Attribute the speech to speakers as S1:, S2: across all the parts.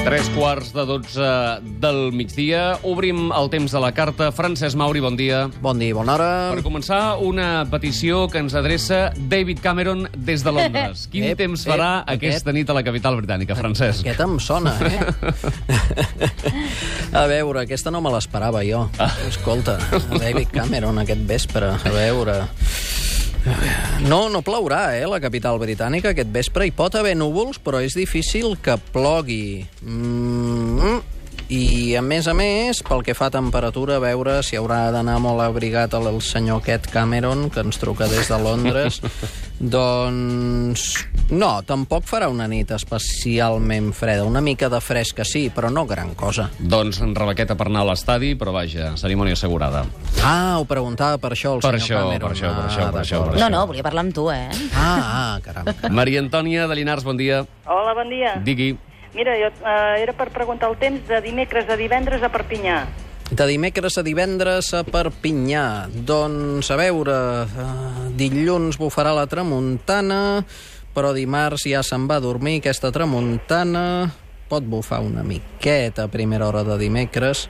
S1: Tres quarts de dotze del migdia. Obrim el temps de la carta. Francesc Mauri, bon dia.
S2: Bon dia, i bona hora.
S1: Per començar, una petició que ens adreça David Cameron des de Londres. Quin
S2: Ep,
S1: temps
S2: ep,
S1: farà
S2: aquest-
S1: aquesta nit a la capital britànica, Francesc?
S2: Aquesta em sona, eh? a veure, aquesta no me l'esperava jo. Escolta, David Cameron aquest vespre, a veure... No, no plourà, eh, la capital britànica aquest vespre. Hi pot haver núvols, però és difícil que plogui. Mm, I, a més a més, pel que fa a temperatura, a veure si haurà d'anar molt abrigat el el senyor aquest Cameron, que ens truca des de Londres. doncs... No, tampoc farà una nit especialment freda. Una mica de fresca, sí, però no gran cosa.
S1: Doncs en rebaqueta per anar a l'estadi, però vaja, cerimònia assegurada.
S2: Ah, ho preguntava per això el
S1: Per
S2: senyor
S1: això,
S2: Cameron.
S1: per això, per això,
S2: Ah,
S1: per això, per
S2: d'acord.
S1: això.
S3: No, no, volia parlar amb tu, eh?
S2: Ah, ah, caram.
S1: Maria Antònia de Linars, bon dia.
S4: Hola, bon dia.
S1: Digui.
S4: Mira, jo, eh, era per preguntar el temps de dimecres a divendres a Perpinyà.
S2: De dimecres a divendres a Perpinyà. Doncs, a veure, eh, dilluns bufarà la tramuntana, però dimarts ja se'n va a dormir aquesta tramuntana. Pot bufar una miqueta a primera hora de dimecres,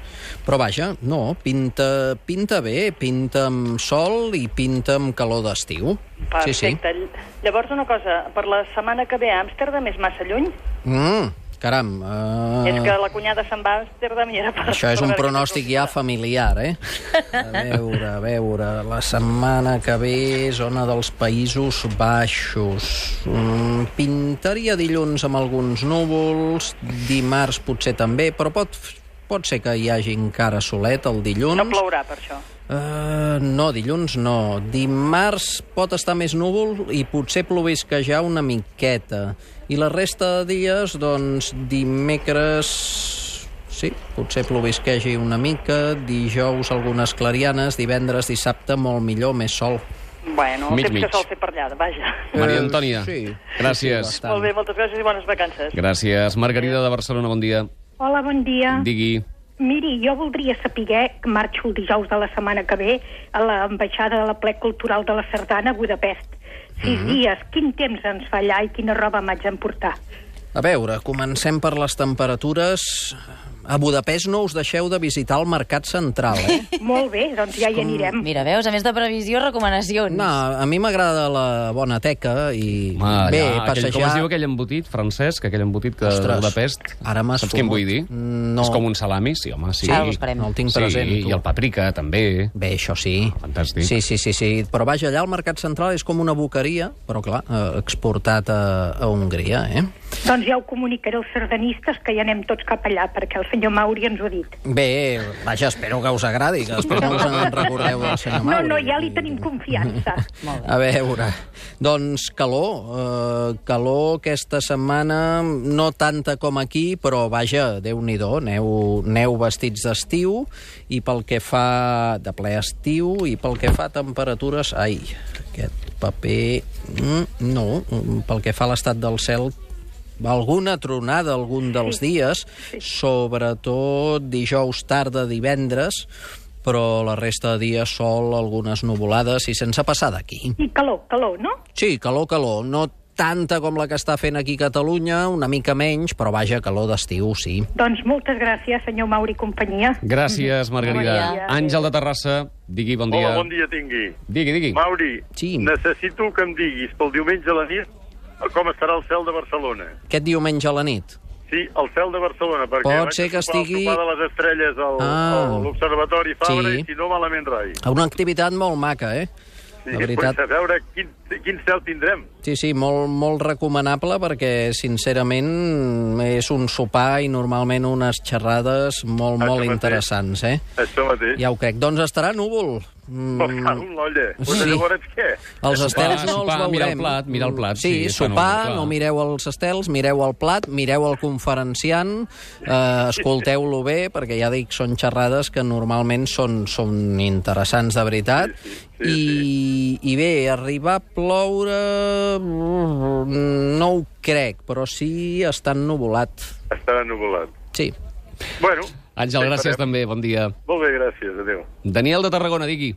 S2: però vaja, no, pinta, pinta bé, pinta amb sol i pinta amb calor d'estiu. Sí, sí.
S4: Perfecte. Sí, sí. Llavors, una cosa, per la setmana que ve a Amsterdam és massa lluny?
S2: Mm, caram.
S4: Uh...
S2: Eh...
S4: És que la cunyada se'n va a Amsterdam i era per...
S2: Això és un
S4: per veure
S2: pronòstic ja familiar, eh? A veure, a veure, la setmana que ve, zona dels Països Baixos. Mm, Pintaria dilluns amb alguns núvols, dimarts potser també, però pot, pot ser que hi hagi encara solet el
S4: què-
S2: dilluns.
S4: No plourà, per això.
S2: Uh, no, dilluns no. Dimarts pot estar més núvol i potser plovisquejar una miqueta. I la resta de dies, doncs, dimecres... Sí, potser plovisquegi una mica, dijous algunes clarianes, divendres, dissabte, molt millor, més sol.
S4: Bueno, el
S1: Mig,
S4: temps
S1: mig.
S4: que sol fer per allà, vaja.
S1: Maria Antònia,
S2: Eh, sí.
S1: gràcies.
S2: Tant.
S4: Molt bé, moltes gràcies i bones vacances.
S1: Gràcies. Margarida de Barcelona, bon dia.
S5: Hola, bon
S2: Ah.
S5: dia.
S1: Digui.
S5: Miri, jo voldria saber que marxo el dijous de la setmana que ve a l'ambaixada de la ple cultural de la Sardana a Budapest. Sis mm -hmm. dies, quin temps ens fa allà i quina roba m'haig d'emportar?
S2: A veure, comencem per les temperatures. A Budapest no us deixeu de visitar el mercat central, eh?
S5: Molt bé, doncs ja hi anirem.
S3: Mira, veus, a més de previsió, recomanacions.
S2: No, a mi m'agrada la bona teca i
S1: Home,
S2: bé,
S1: allà, aquell,
S2: passejar...
S1: com es diu aquell embotit, Francesc, aquell embotit que de
S2: Ostres,
S1: Budapest?
S2: ara m'has
S1: Saps quin
S2: fumat.
S1: vull dir?
S2: No.
S1: És com un salami, sí, home, sí.
S3: Ara ho buscarem.
S2: No el tinc present,
S1: Sí,
S2: tu.
S1: i el paprika, també.
S2: Bé, això sí.
S1: Fantàstic.
S2: Sí, sí, sí, sí. Però vaja, allà al Mercat Central és com una boqueria, però clar, eh, exportat a, a Hongria, eh?
S5: Doncs ja ho comunicaré als sardanistes que ja anem tots cap allà, perquè el senyor Mauri ens ho ha dit.
S2: Bé, vaja, espero que us agradi, que després no us en recordeu del senyor
S5: No,
S2: Mauri.
S5: no, ja li tenim confiança.
S2: A veure, doncs calor, eh, calor aquesta setmana, no tanta com aquí, però vaja, déu-n'hi-do, aneu, aneu vestits d'estiu, i pel que fa de ple estiu, i pel que fa a temperatures... Ai, aquest paper... Mm, no, mm, pel que fa a l'estat del cel, alguna tronada algun dels dies, sobretot dijous tarda, divendres, però la resta de dies sol, algunes nuvolades i sense passar d'aquí.
S5: I calor, calor, no?
S2: Sí, calor, calor, no tanta com la que està fent aquí a Catalunya, una mica menys, però vaja, calor d'estiu, sí.
S5: Doncs moltes gràcies, senyor Mauri i companyia.
S1: Gràcies, Margarida.
S3: Bon dia.
S1: Àngel de Terrassa, digui bon dia.
S6: Hola, bon dia tingui.
S1: Digui, digui.
S6: Mauri,
S2: Sí.
S6: necessito que em diguis pel diumenge a la nit com estarà el cel de Barcelona.
S2: Aquest diumenge a la nit.
S6: Sí, el cel de Barcelona, perquè
S2: Pot
S6: vaig
S2: ser que
S6: a sopar al
S2: estigui-
S6: sopar de les estrelles al-
S2: Ah.
S6: a l'Observatori Fabra
S2: Sí.
S6: i si no, malament rai.
S2: Una activitat molt maca, eh?
S6: Sí, Vull veure quin, quin cel tindrem.
S2: Sí, sí, molt, molt recomanable perquè, sincerament, és un sopar i normalment unes xerrades molt,
S6: Això
S2: molt
S6: mateix.
S2: interessants, eh?
S6: Això mateix.
S2: Ja ho crec. Doncs estarà núvol. Mm,
S6: Però cal un olla. Però
S2: Sí.
S6: llavors què?
S2: Els estels no
S1: sopar,
S2: els veurem.
S1: mirar el plat, mirar el plat,
S2: Sí,
S1: sí, està núvol,
S2: sopar,
S1: clar.
S2: no mireu els estels, mireu el plat, mireu el conferenciant, eh, escolteu-lo bé, perquè ja dic, són xerrades que normalment són, són interessants de veritat. I, I bé, arribar a ploure... mm, No ho crec, però sí està ennuvolat.
S6: Estarà nuvolat.
S2: Sí.
S6: Bueno,
S1: Àngel, gràcies també, bon dia.
S6: molt bé, gràcies. Adéu.
S1: Daniel de Tarragona, digui.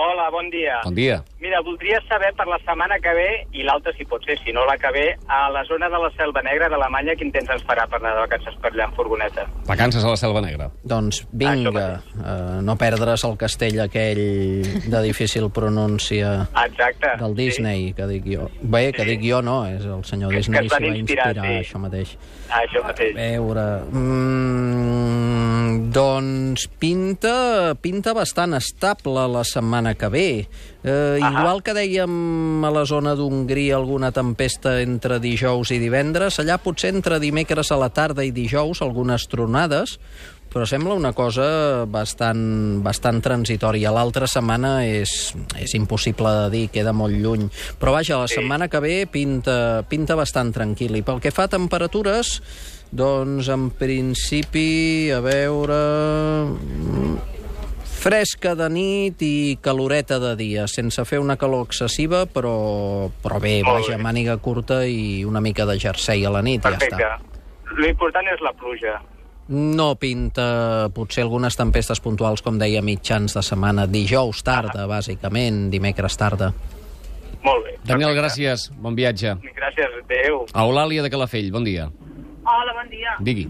S7: Hola, bon dia.
S1: Bon dia.
S7: Mira, voldria saber per la setmana que ve, i l'altra si pot ser, si no la que ve, a la zona de la Selva Negra d'Alemanya, quin temps ens farà per anar de vacances per allà en furgoneta?
S1: Vacances a la Selva Negra.
S7: Ah,
S2: Doncs vinga, uh, no perdre's el castell aquell de difícil pronúncia
S7: Exacte.
S2: del Disney, que dic jo. Bé, que
S7: Ah, Sí.
S2: dic jo no, és el senyor
S7: Que- que
S2: Disney
S7: es van
S2: s'hi va
S7: inspirar,
S2: inspirar,
S7: sí.
S2: això mateix.
S7: Sí. Ah, Això
S2: A
S7: mateix.
S2: veure... Mm, doncs pinta, pinta bastant estable la setmana que ve. Eh, igual que dèiem a la zona d'Hongria alguna tempesta entre dijous i divendres, allà potser entre dimecres a la tarda i dijous algunes tronades, però sembla una cosa bastant, bastant transitòria. L'altra setmana és, és impossible de dir, queda molt lluny. Però vaja, la setmana que ve pinta, pinta bastant tranquil. I pel que fa a temperatures, doncs en principi, a veure... mm, Fresca de nit i caloreta de dia, sense fer una calor excessiva, però, però bé,
S7: Molt
S2: vaja,
S7: bé.
S2: màniga curta i una mica de jersei a la nit, ja
S7: Perfecte.
S2: està.
S7: L'important és la pluja.
S2: No pinta potser algunes tempestes puntuals, com deia, mitjans de setmana. Dijous
S7: Ah.
S2: tarda, bàsicament, dimecres tarda.
S7: Molt bé.
S1: Daniel, gràcies. Bon viatge.
S7: Gràcies, adéu.
S1: A Eulàlia de Calafell, bon dia.
S8: Hola, bon dia.
S1: Digui.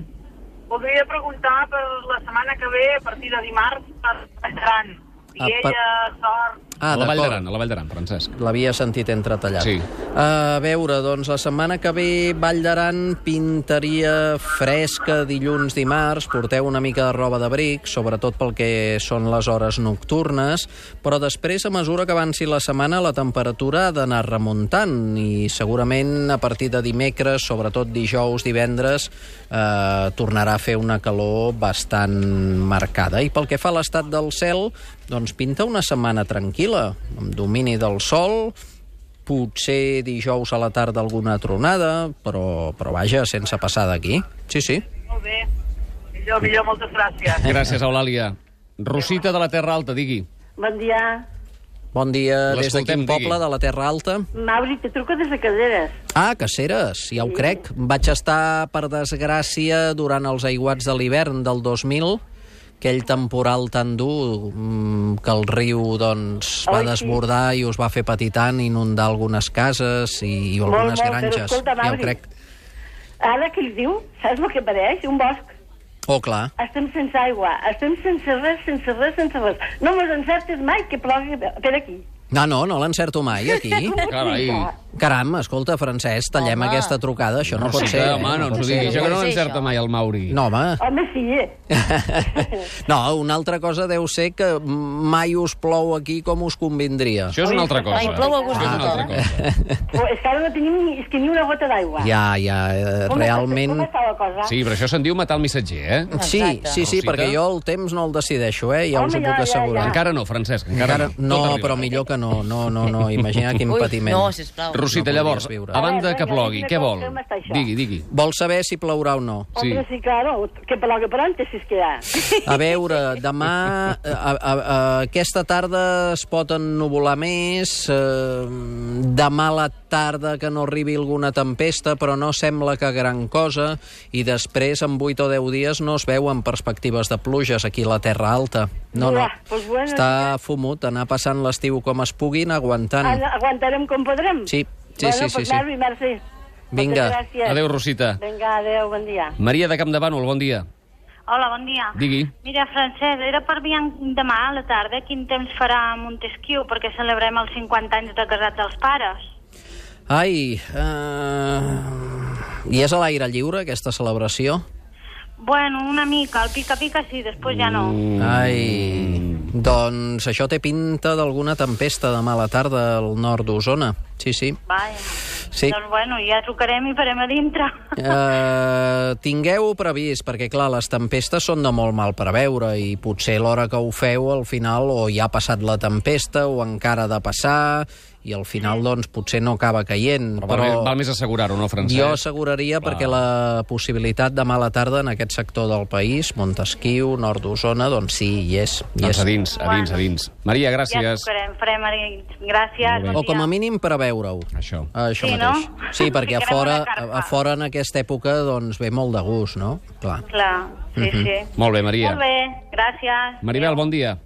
S8: Voldria preguntar per la setmana que ve, a partir de dimarts, per Valldaran.
S2: Ah,
S8: Viella,
S2: per-
S8: Sort...
S1: a la Vall
S2: Ah, d'acord.
S1: d'Aran, a la Vall d'Aran, Francesc.
S2: L'havia sentit entretallat.
S1: Sí.
S2: A veure, doncs la setmana que ve Vall d'Aran pintaria fresca dilluns, dimarts. Porteu una mica de roba d'abric, sobretot pel que són les hores nocturnes, però després, a mesura que avanci la setmana, la temperatura ha d'anar remuntant i segurament a partir de dimecres, sobretot dijous, divendres, eh, tornarà a fer una calor bastant marcada. I pel que fa a l'estat del cel, doncs pinta una setmana tranquil·la, amb domini del sol, potser dijous a la tarda alguna tronada, però, però vaja, sense passar d'aquí. Sí, sí.
S8: Molt bé. Millor, millor, moltes gràcies.
S1: Gràcies, Eulàlia. Rosita de la Terra Alta, digui.
S4: Bon dia.
S2: Bon dia des de
S1: L'escoltem,
S2: quin poble,
S1: digui.
S2: de la Terra Alta?
S4: Mauri, te truco des de Caseres.
S2: Ah, Caceres, ja ho crec. Vaig estar, per desgràcia, durant els aiguats de l'hivern del 2000, aquell temporal tan dur mm, que el riu doncs, va
S4: Ai, sí.
S2: desbordar i us va fer patir tant, inundar algunes cases i, i
S4: Molt,
S2: algunes
S4: molt, però
S2: granges.
S4: escolta,
S2: ja ho
S4: Mauri.
S2: crec.
S4: Ara que els diu, saps el que pareix? Un bosc.
S2: Oh, clar.
S4: Estem sense aigua, estem sense res, sense res, sense res. No mos encertes mai que plogui per aquí.
S2: No, no, no l'encerto mai, aquí.
S1: Carai.
S2: Caram, escolta, Francesc, tallem
S3: Home.
S2: aquesta trucada, això no, pot
S1: Rosita,
S2: ser. eh?
S1: home, no ens
S2: pot
S1: ho
S2: ser.
S1: digui. Jo que no
S3: No pot ser,
S1: l'encerta
S3: això.
S1: mai, el Mauri.
S2: No, home.
S4: Home, sí, eh?
S2: No, una altra cosa deu ser que mai us plou aquí com us convindria.
S1: Això és una altra cosa.
S3: Ai, plou a gust
S1: Això és
S3: de
S1: una altra
S3: tothom,
S1: cosa.
S4: Oh, és que ara no tenim ni, és que ni una gota d'aigua.
S2: Ja, ja, eh,
S4: Com està- Com
S2: realment...
S4: està la cosa?
S1: Sí, però això se'n diu matar el missatger, eh?
S2: Sí,
S3: Exacte.
S2: sí, sí,
S1: Rosita?
S2: perquè jo el temps no el decideixo, eh? Ja us ho
S4: Home, ja,
S2: puc
S4: ja,
S2: assegurar.
S4: ja.
S1: Encara no, Francesc, encara,
S2: Encara... No,
S1: Tot arribarà.
S2: però millor que no. No, no, no. Imagina quin
S3: Ui,
S2: patiment.
S3: no, sisplau.
S1: Rosita,
S2: No
S1: llavors,
S2: podries viure.
S1: a banda
S4: Eh,
S1: que
S4: vinga,
S1: plogui,
S4: dime
S1: què
S4: com-
S1: vol?
S4: com està això?
S1: Digui, digui.
S2: Vol saber si plourà o no?
S1: Sí.
S4: Hombre, sí, claro, que plogui per antes, si es que ja.
S2: A veure, demà, eh, a, a, a, aquesta tarda es pot ennuvolar més, eh, demà a la tarda que no arribi alguna tempesta, però no sembla que gran cosa, i després en 8 o 10 dies no es veuen perspectives de pluges aquí a la Terra Alta. No, no.
S4: Uah, pues bueno,
S2: Està fumut, anar passant l'estiu com es puguin, aguantant.
S4: Ara aguantarem com podrem.
S2: Sí, sí,
S4: bueno,
S2: sí, sí,
S4: Pues,
S2: sí.
S4: Marvi, merci.
S2: Vinga.
S4: Moltes gràcies.
S1: Adéu, Rosita.
S4: Vinga, adéu, bon dia.
S1: Maria de Campdevànol, bon dia.
S8: Hola, bon dia.
S1: Digui.
S8: Mira, Francesc, era per mi demà a la tarda quin temps farà a Montesquieu, perquè celebrem els 50 anys de casats dels pares.
S2: Ai, eh... I és a l'aire lliure, aquesta celebració?
S8: Bueno, una mica, el pica-pica sí, després ja no.
S2: Mm. Ai,
S1: Mm.
S2: doncs això té pinta d'alguna tempesta demà a la tarda al nord d'Osona. Sí, sí.
S8: Vaja.
S2: Sí.
S8: Doncs bueno, ja trucarem i farem a dintre.
S2: Uh, tingueu previst, perquè clar, les tempestes són de molt mal preveure i potser l'hora que ho feu al final o ja ha passat la tempesta o encara ha de passar i al final doncs potser no acaba caient.
S1: Però, val,
S2: Però,
S1: més- eh? val més assegurar-ho, no, Francesc?
S2: jo asseguraria perquè la possibilitat demà a la tarda en aquest sector del país, Montesquieu, nord d'Osona, doncs sí, hi és. Hi
S1: Doncs
S2: és.
S1: a dins, a dins, a dins. Maria,
S8: Ja
S1: gràcies.
S8: trucarem, farem a dintre. Gràcies,
S1: Molt bé.
S2: O
S8: bon
S2: com a
S8: dia.
S2: mínim preveure-ho.
S1: Això.
S2: Això
S8: Sí,
S2: mateix.
S8: no?
S2: Sí, perquè a
S8: Ficarem
S2: fora,
S8: una
S2: a,
S8: carpa.
S2: a fora en aquesta època doncs ve molt de gust, no? Clar.
S8: Clar, sí, sí.
S2: Mhm.
S1: Molt bé, Maria.
S8: Molt bé, gràcies.
S1: Maribel, bon dia.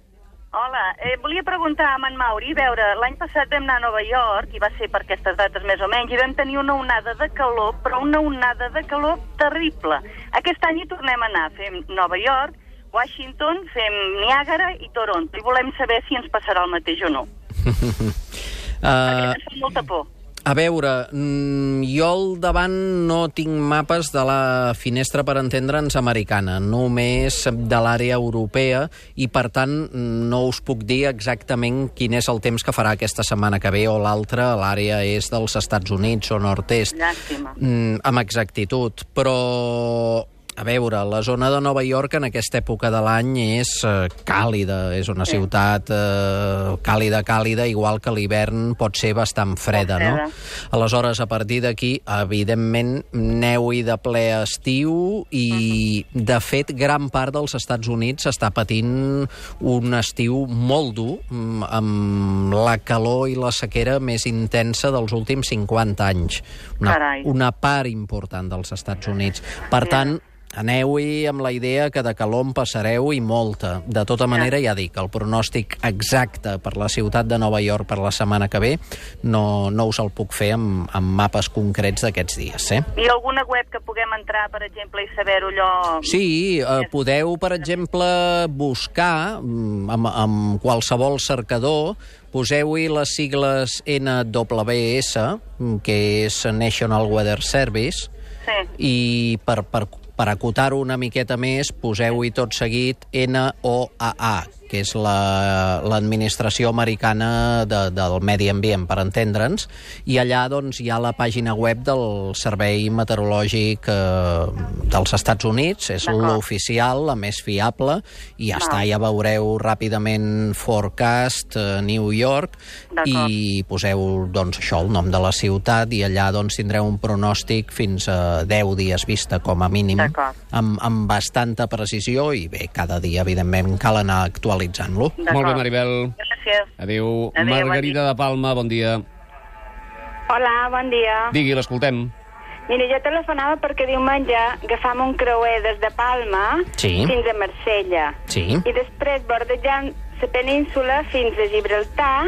S9: Hola, eh, volia preguntar a en Mauri, a veure, l'any passat vam anar a Nova York, i va ser per aquestes dates més o menys, i vam tenir una onada de calor, però una onada de calor terrible. Aquest any hi tornem a anar, fem Nova York, Washington, fem Niàgara i Toronto, i volem saber si ens passarà el mateix o no.
S1: Ah.
S2: Uh,
S9: Ens fa molta por.
S2: a veure, mm, jo al davant no tinc mapes de la finestra per entendre'ns americana, només de l'àrea europea i, per tant, mm, no us puc dir exactament quin és el temps que farà aquesta setmana que ve o l'altra a l'àrea és dels Estats Units o nord-est.
S9: Llàstima.
S2: Mm, amb exactitud, però... A veure, la zona de Nova York en aquesta època de l'any és eh, càlida, és una ciutat eh, càlida, càlida, igual que l'hivern pot ser bastant freda, no?
S9: freda.
S2: Aleshores, a partir d'aquí, evidentment, neu i de ple estiu i, de fet, gran part dels Estats Units està patint un estiu molt dur mm, amb la calor i la sequera més intensa dels últims 50 anys. Una,
S9: Carai.
S2: una part important dels Estats Units. Per tant, aneu-hi amb la idea que de calor en passareu i molta. De tota manera, ja dic, el pronòstic exacte per la ciutat de Nova York per la setmana que ve no, no us el puc fer amb, amb mapes concrets d'aquests dies, eh?
S9: I alguna web que puguem entrar, per exemple, i saber-ho allò...
S2: Sí, eh, podeu, per exemple, buscar mm, amb, amb qualsevol cercador, poseu-hi les sigles NWS, mm, que és National Weather Service,
S9: Sí.
S2: i per, per, per acotar-ho una miqueta més, poseu-hi tot seguit NOAA, que és la- l'Administració la, Americana de, del Medi Ambient, per entendre'ns, i allà doncs, hi ha la pàgina web del Servei Meteorològic eh, dels Estats Units, és l'oficial, la més fiable, i ja està, ja veureu ràpidament Forecast, eh, New York,
S9: D'acord.
S2: i i poseu doncs, això, el nom de la ciutat i allà doncs, tindreu un pronòstic fins a 10 dies vista com a mínim
S9: D'acord.
S2: amb, amb bastanta precisió i bé, cada dia evidentment cal anar actualitzant-lo.
S1: Molt bé,
S9: D'acord.
S1: Maribel.
S9: Gràcies.
S1: Adéu.
S9: Adéu, bon
S1: Margarida de Palma, bon dia.
S5: Hola, bon dia.
S1: Digui, l'escoltem.
S5: Mira, jo telefonava perquè diumenge agafam un creuer des de Palma
S2: Sí.
S5: fins a Marsella.
S2: Sí.
S5: I després bordejant la península fins a Gibraltar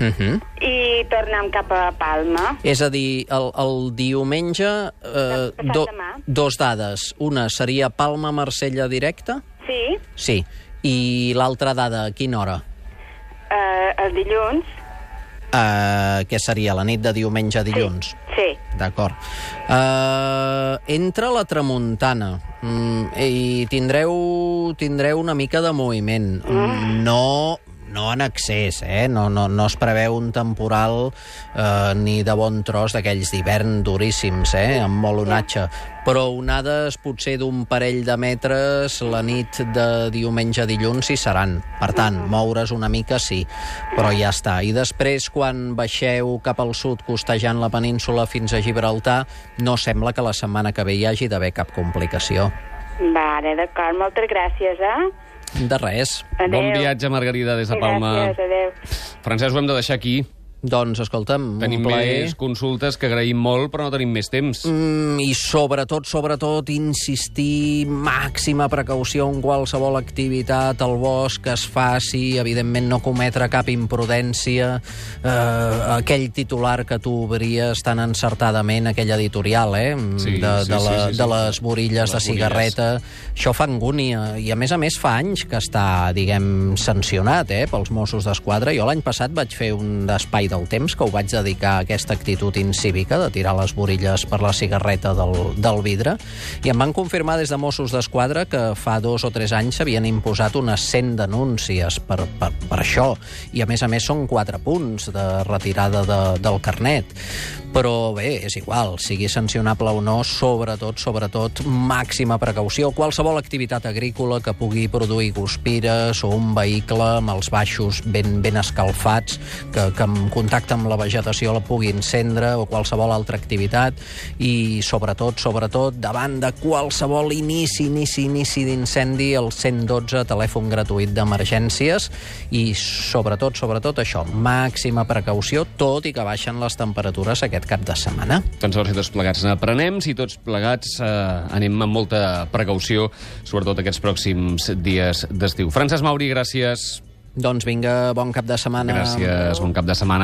S2: Uh -huh.
S5: i tornem cap a Palma.
S2: És a dir, el, el diumenge... Eh,
S5: Doncs, Passat
S2: do,
S5: demà.
S2: dos dades. Una seria Palma-Marsella directa?
S5: Sí,
S2: Sí. I l'altra dada, a quina hora?
S5: eh, el dilluns.
S2: Eh, que seria la nit de diumenge a dilluns?
S5: Sí.
S2: D'acord. Uh, entra la tramuntana mm, i tindreu, tindreu una mica de moviment. Mm. No no en excés, eh? No, no, no es preveu un temporal eh, ni de bon tros d'aquells d'hivern duríssims, eh? Amb molt onatge. Però onades potser d'un parell de metres la nit de diumenge a dilluns hi seran. Per tant, moure's una mica sí, però ja està. I després, quan baixeu cap al sud, costejant la península fins a Gibraltar, no sembla que la setmana que ve hi hagi d'haver cap complicació.
S5: Vale, d'acord, moltes gràcies, eh?
S2: De res.
S5: Adéu.
S1: Bon viatge, Margarida, des de Palma.
S5: Gràcies, adéu.
S1: Francesc, ho hem de deixar aquí.
S2: Doncs, escolta'm,
S1: Tenim
S2: un plaer.
S1: més consultes que agraïm molt, però no tenim més temps.
S2: Mm, I sobretot, sobretot, insistir màxima precaució en qualsevol activitat al bosc que es faci, evidentment no cometre cap imprudència, eh, aquell titular que tu obries tan encertadament, aquell editorial, eh,
S1: Sí,
S2: de,
S1: sí,
S2: de,
S1: sí,
S2: la,
S1: sí, sí.
S2: de les
S1: De
S2: borilles
S1: les
S2: de cigarreta, això fa angúnia, i a més a més fa anys que està, diguem, sancionat eh, pels Mossos d'Esquadra. Jo l'any passat vaig fer un d'espai del temps que ho vaig dedicar a aquesta actitud incívica de tirar les borilles per la cigarreta del, del vidre, i em van confirmar des de Mossos d'Esquadra que fa dos o tres anys s'havien imposat unes 100 denúncies per, per, per això, i a més a més són quatre punts de retirada de, del carnet. Però bé, és igual, sigui sancionable o no, sobretot, sobretot, màxima precaució. Qualsevol activitat agrícola que pugui produir guspires o un vehicle amb els baixos ben, ben escalfats, que, que en contacte amb la vegetació la pugui encendre, o qualsevol altra activitat, i sobretot, sobretot, davant de qualsevol inici, inici, inici d'incendi, el 112, telèfon gratuït d'emergències, i sobretot, sobretot això, màxima precaució, tot i que baixen les temperatures aquest cap de setmana.
S1: Doncs a veure si tots plegats n'aprenem, si tots plegats eh, anem amb molta precaució, sobretot aquests pròxims dies d'estiu. Francesc Mauri, gràcies.
S10: Doncs vinga, bon cap de setmana.
S2: Gràcies, bon cap de setmana.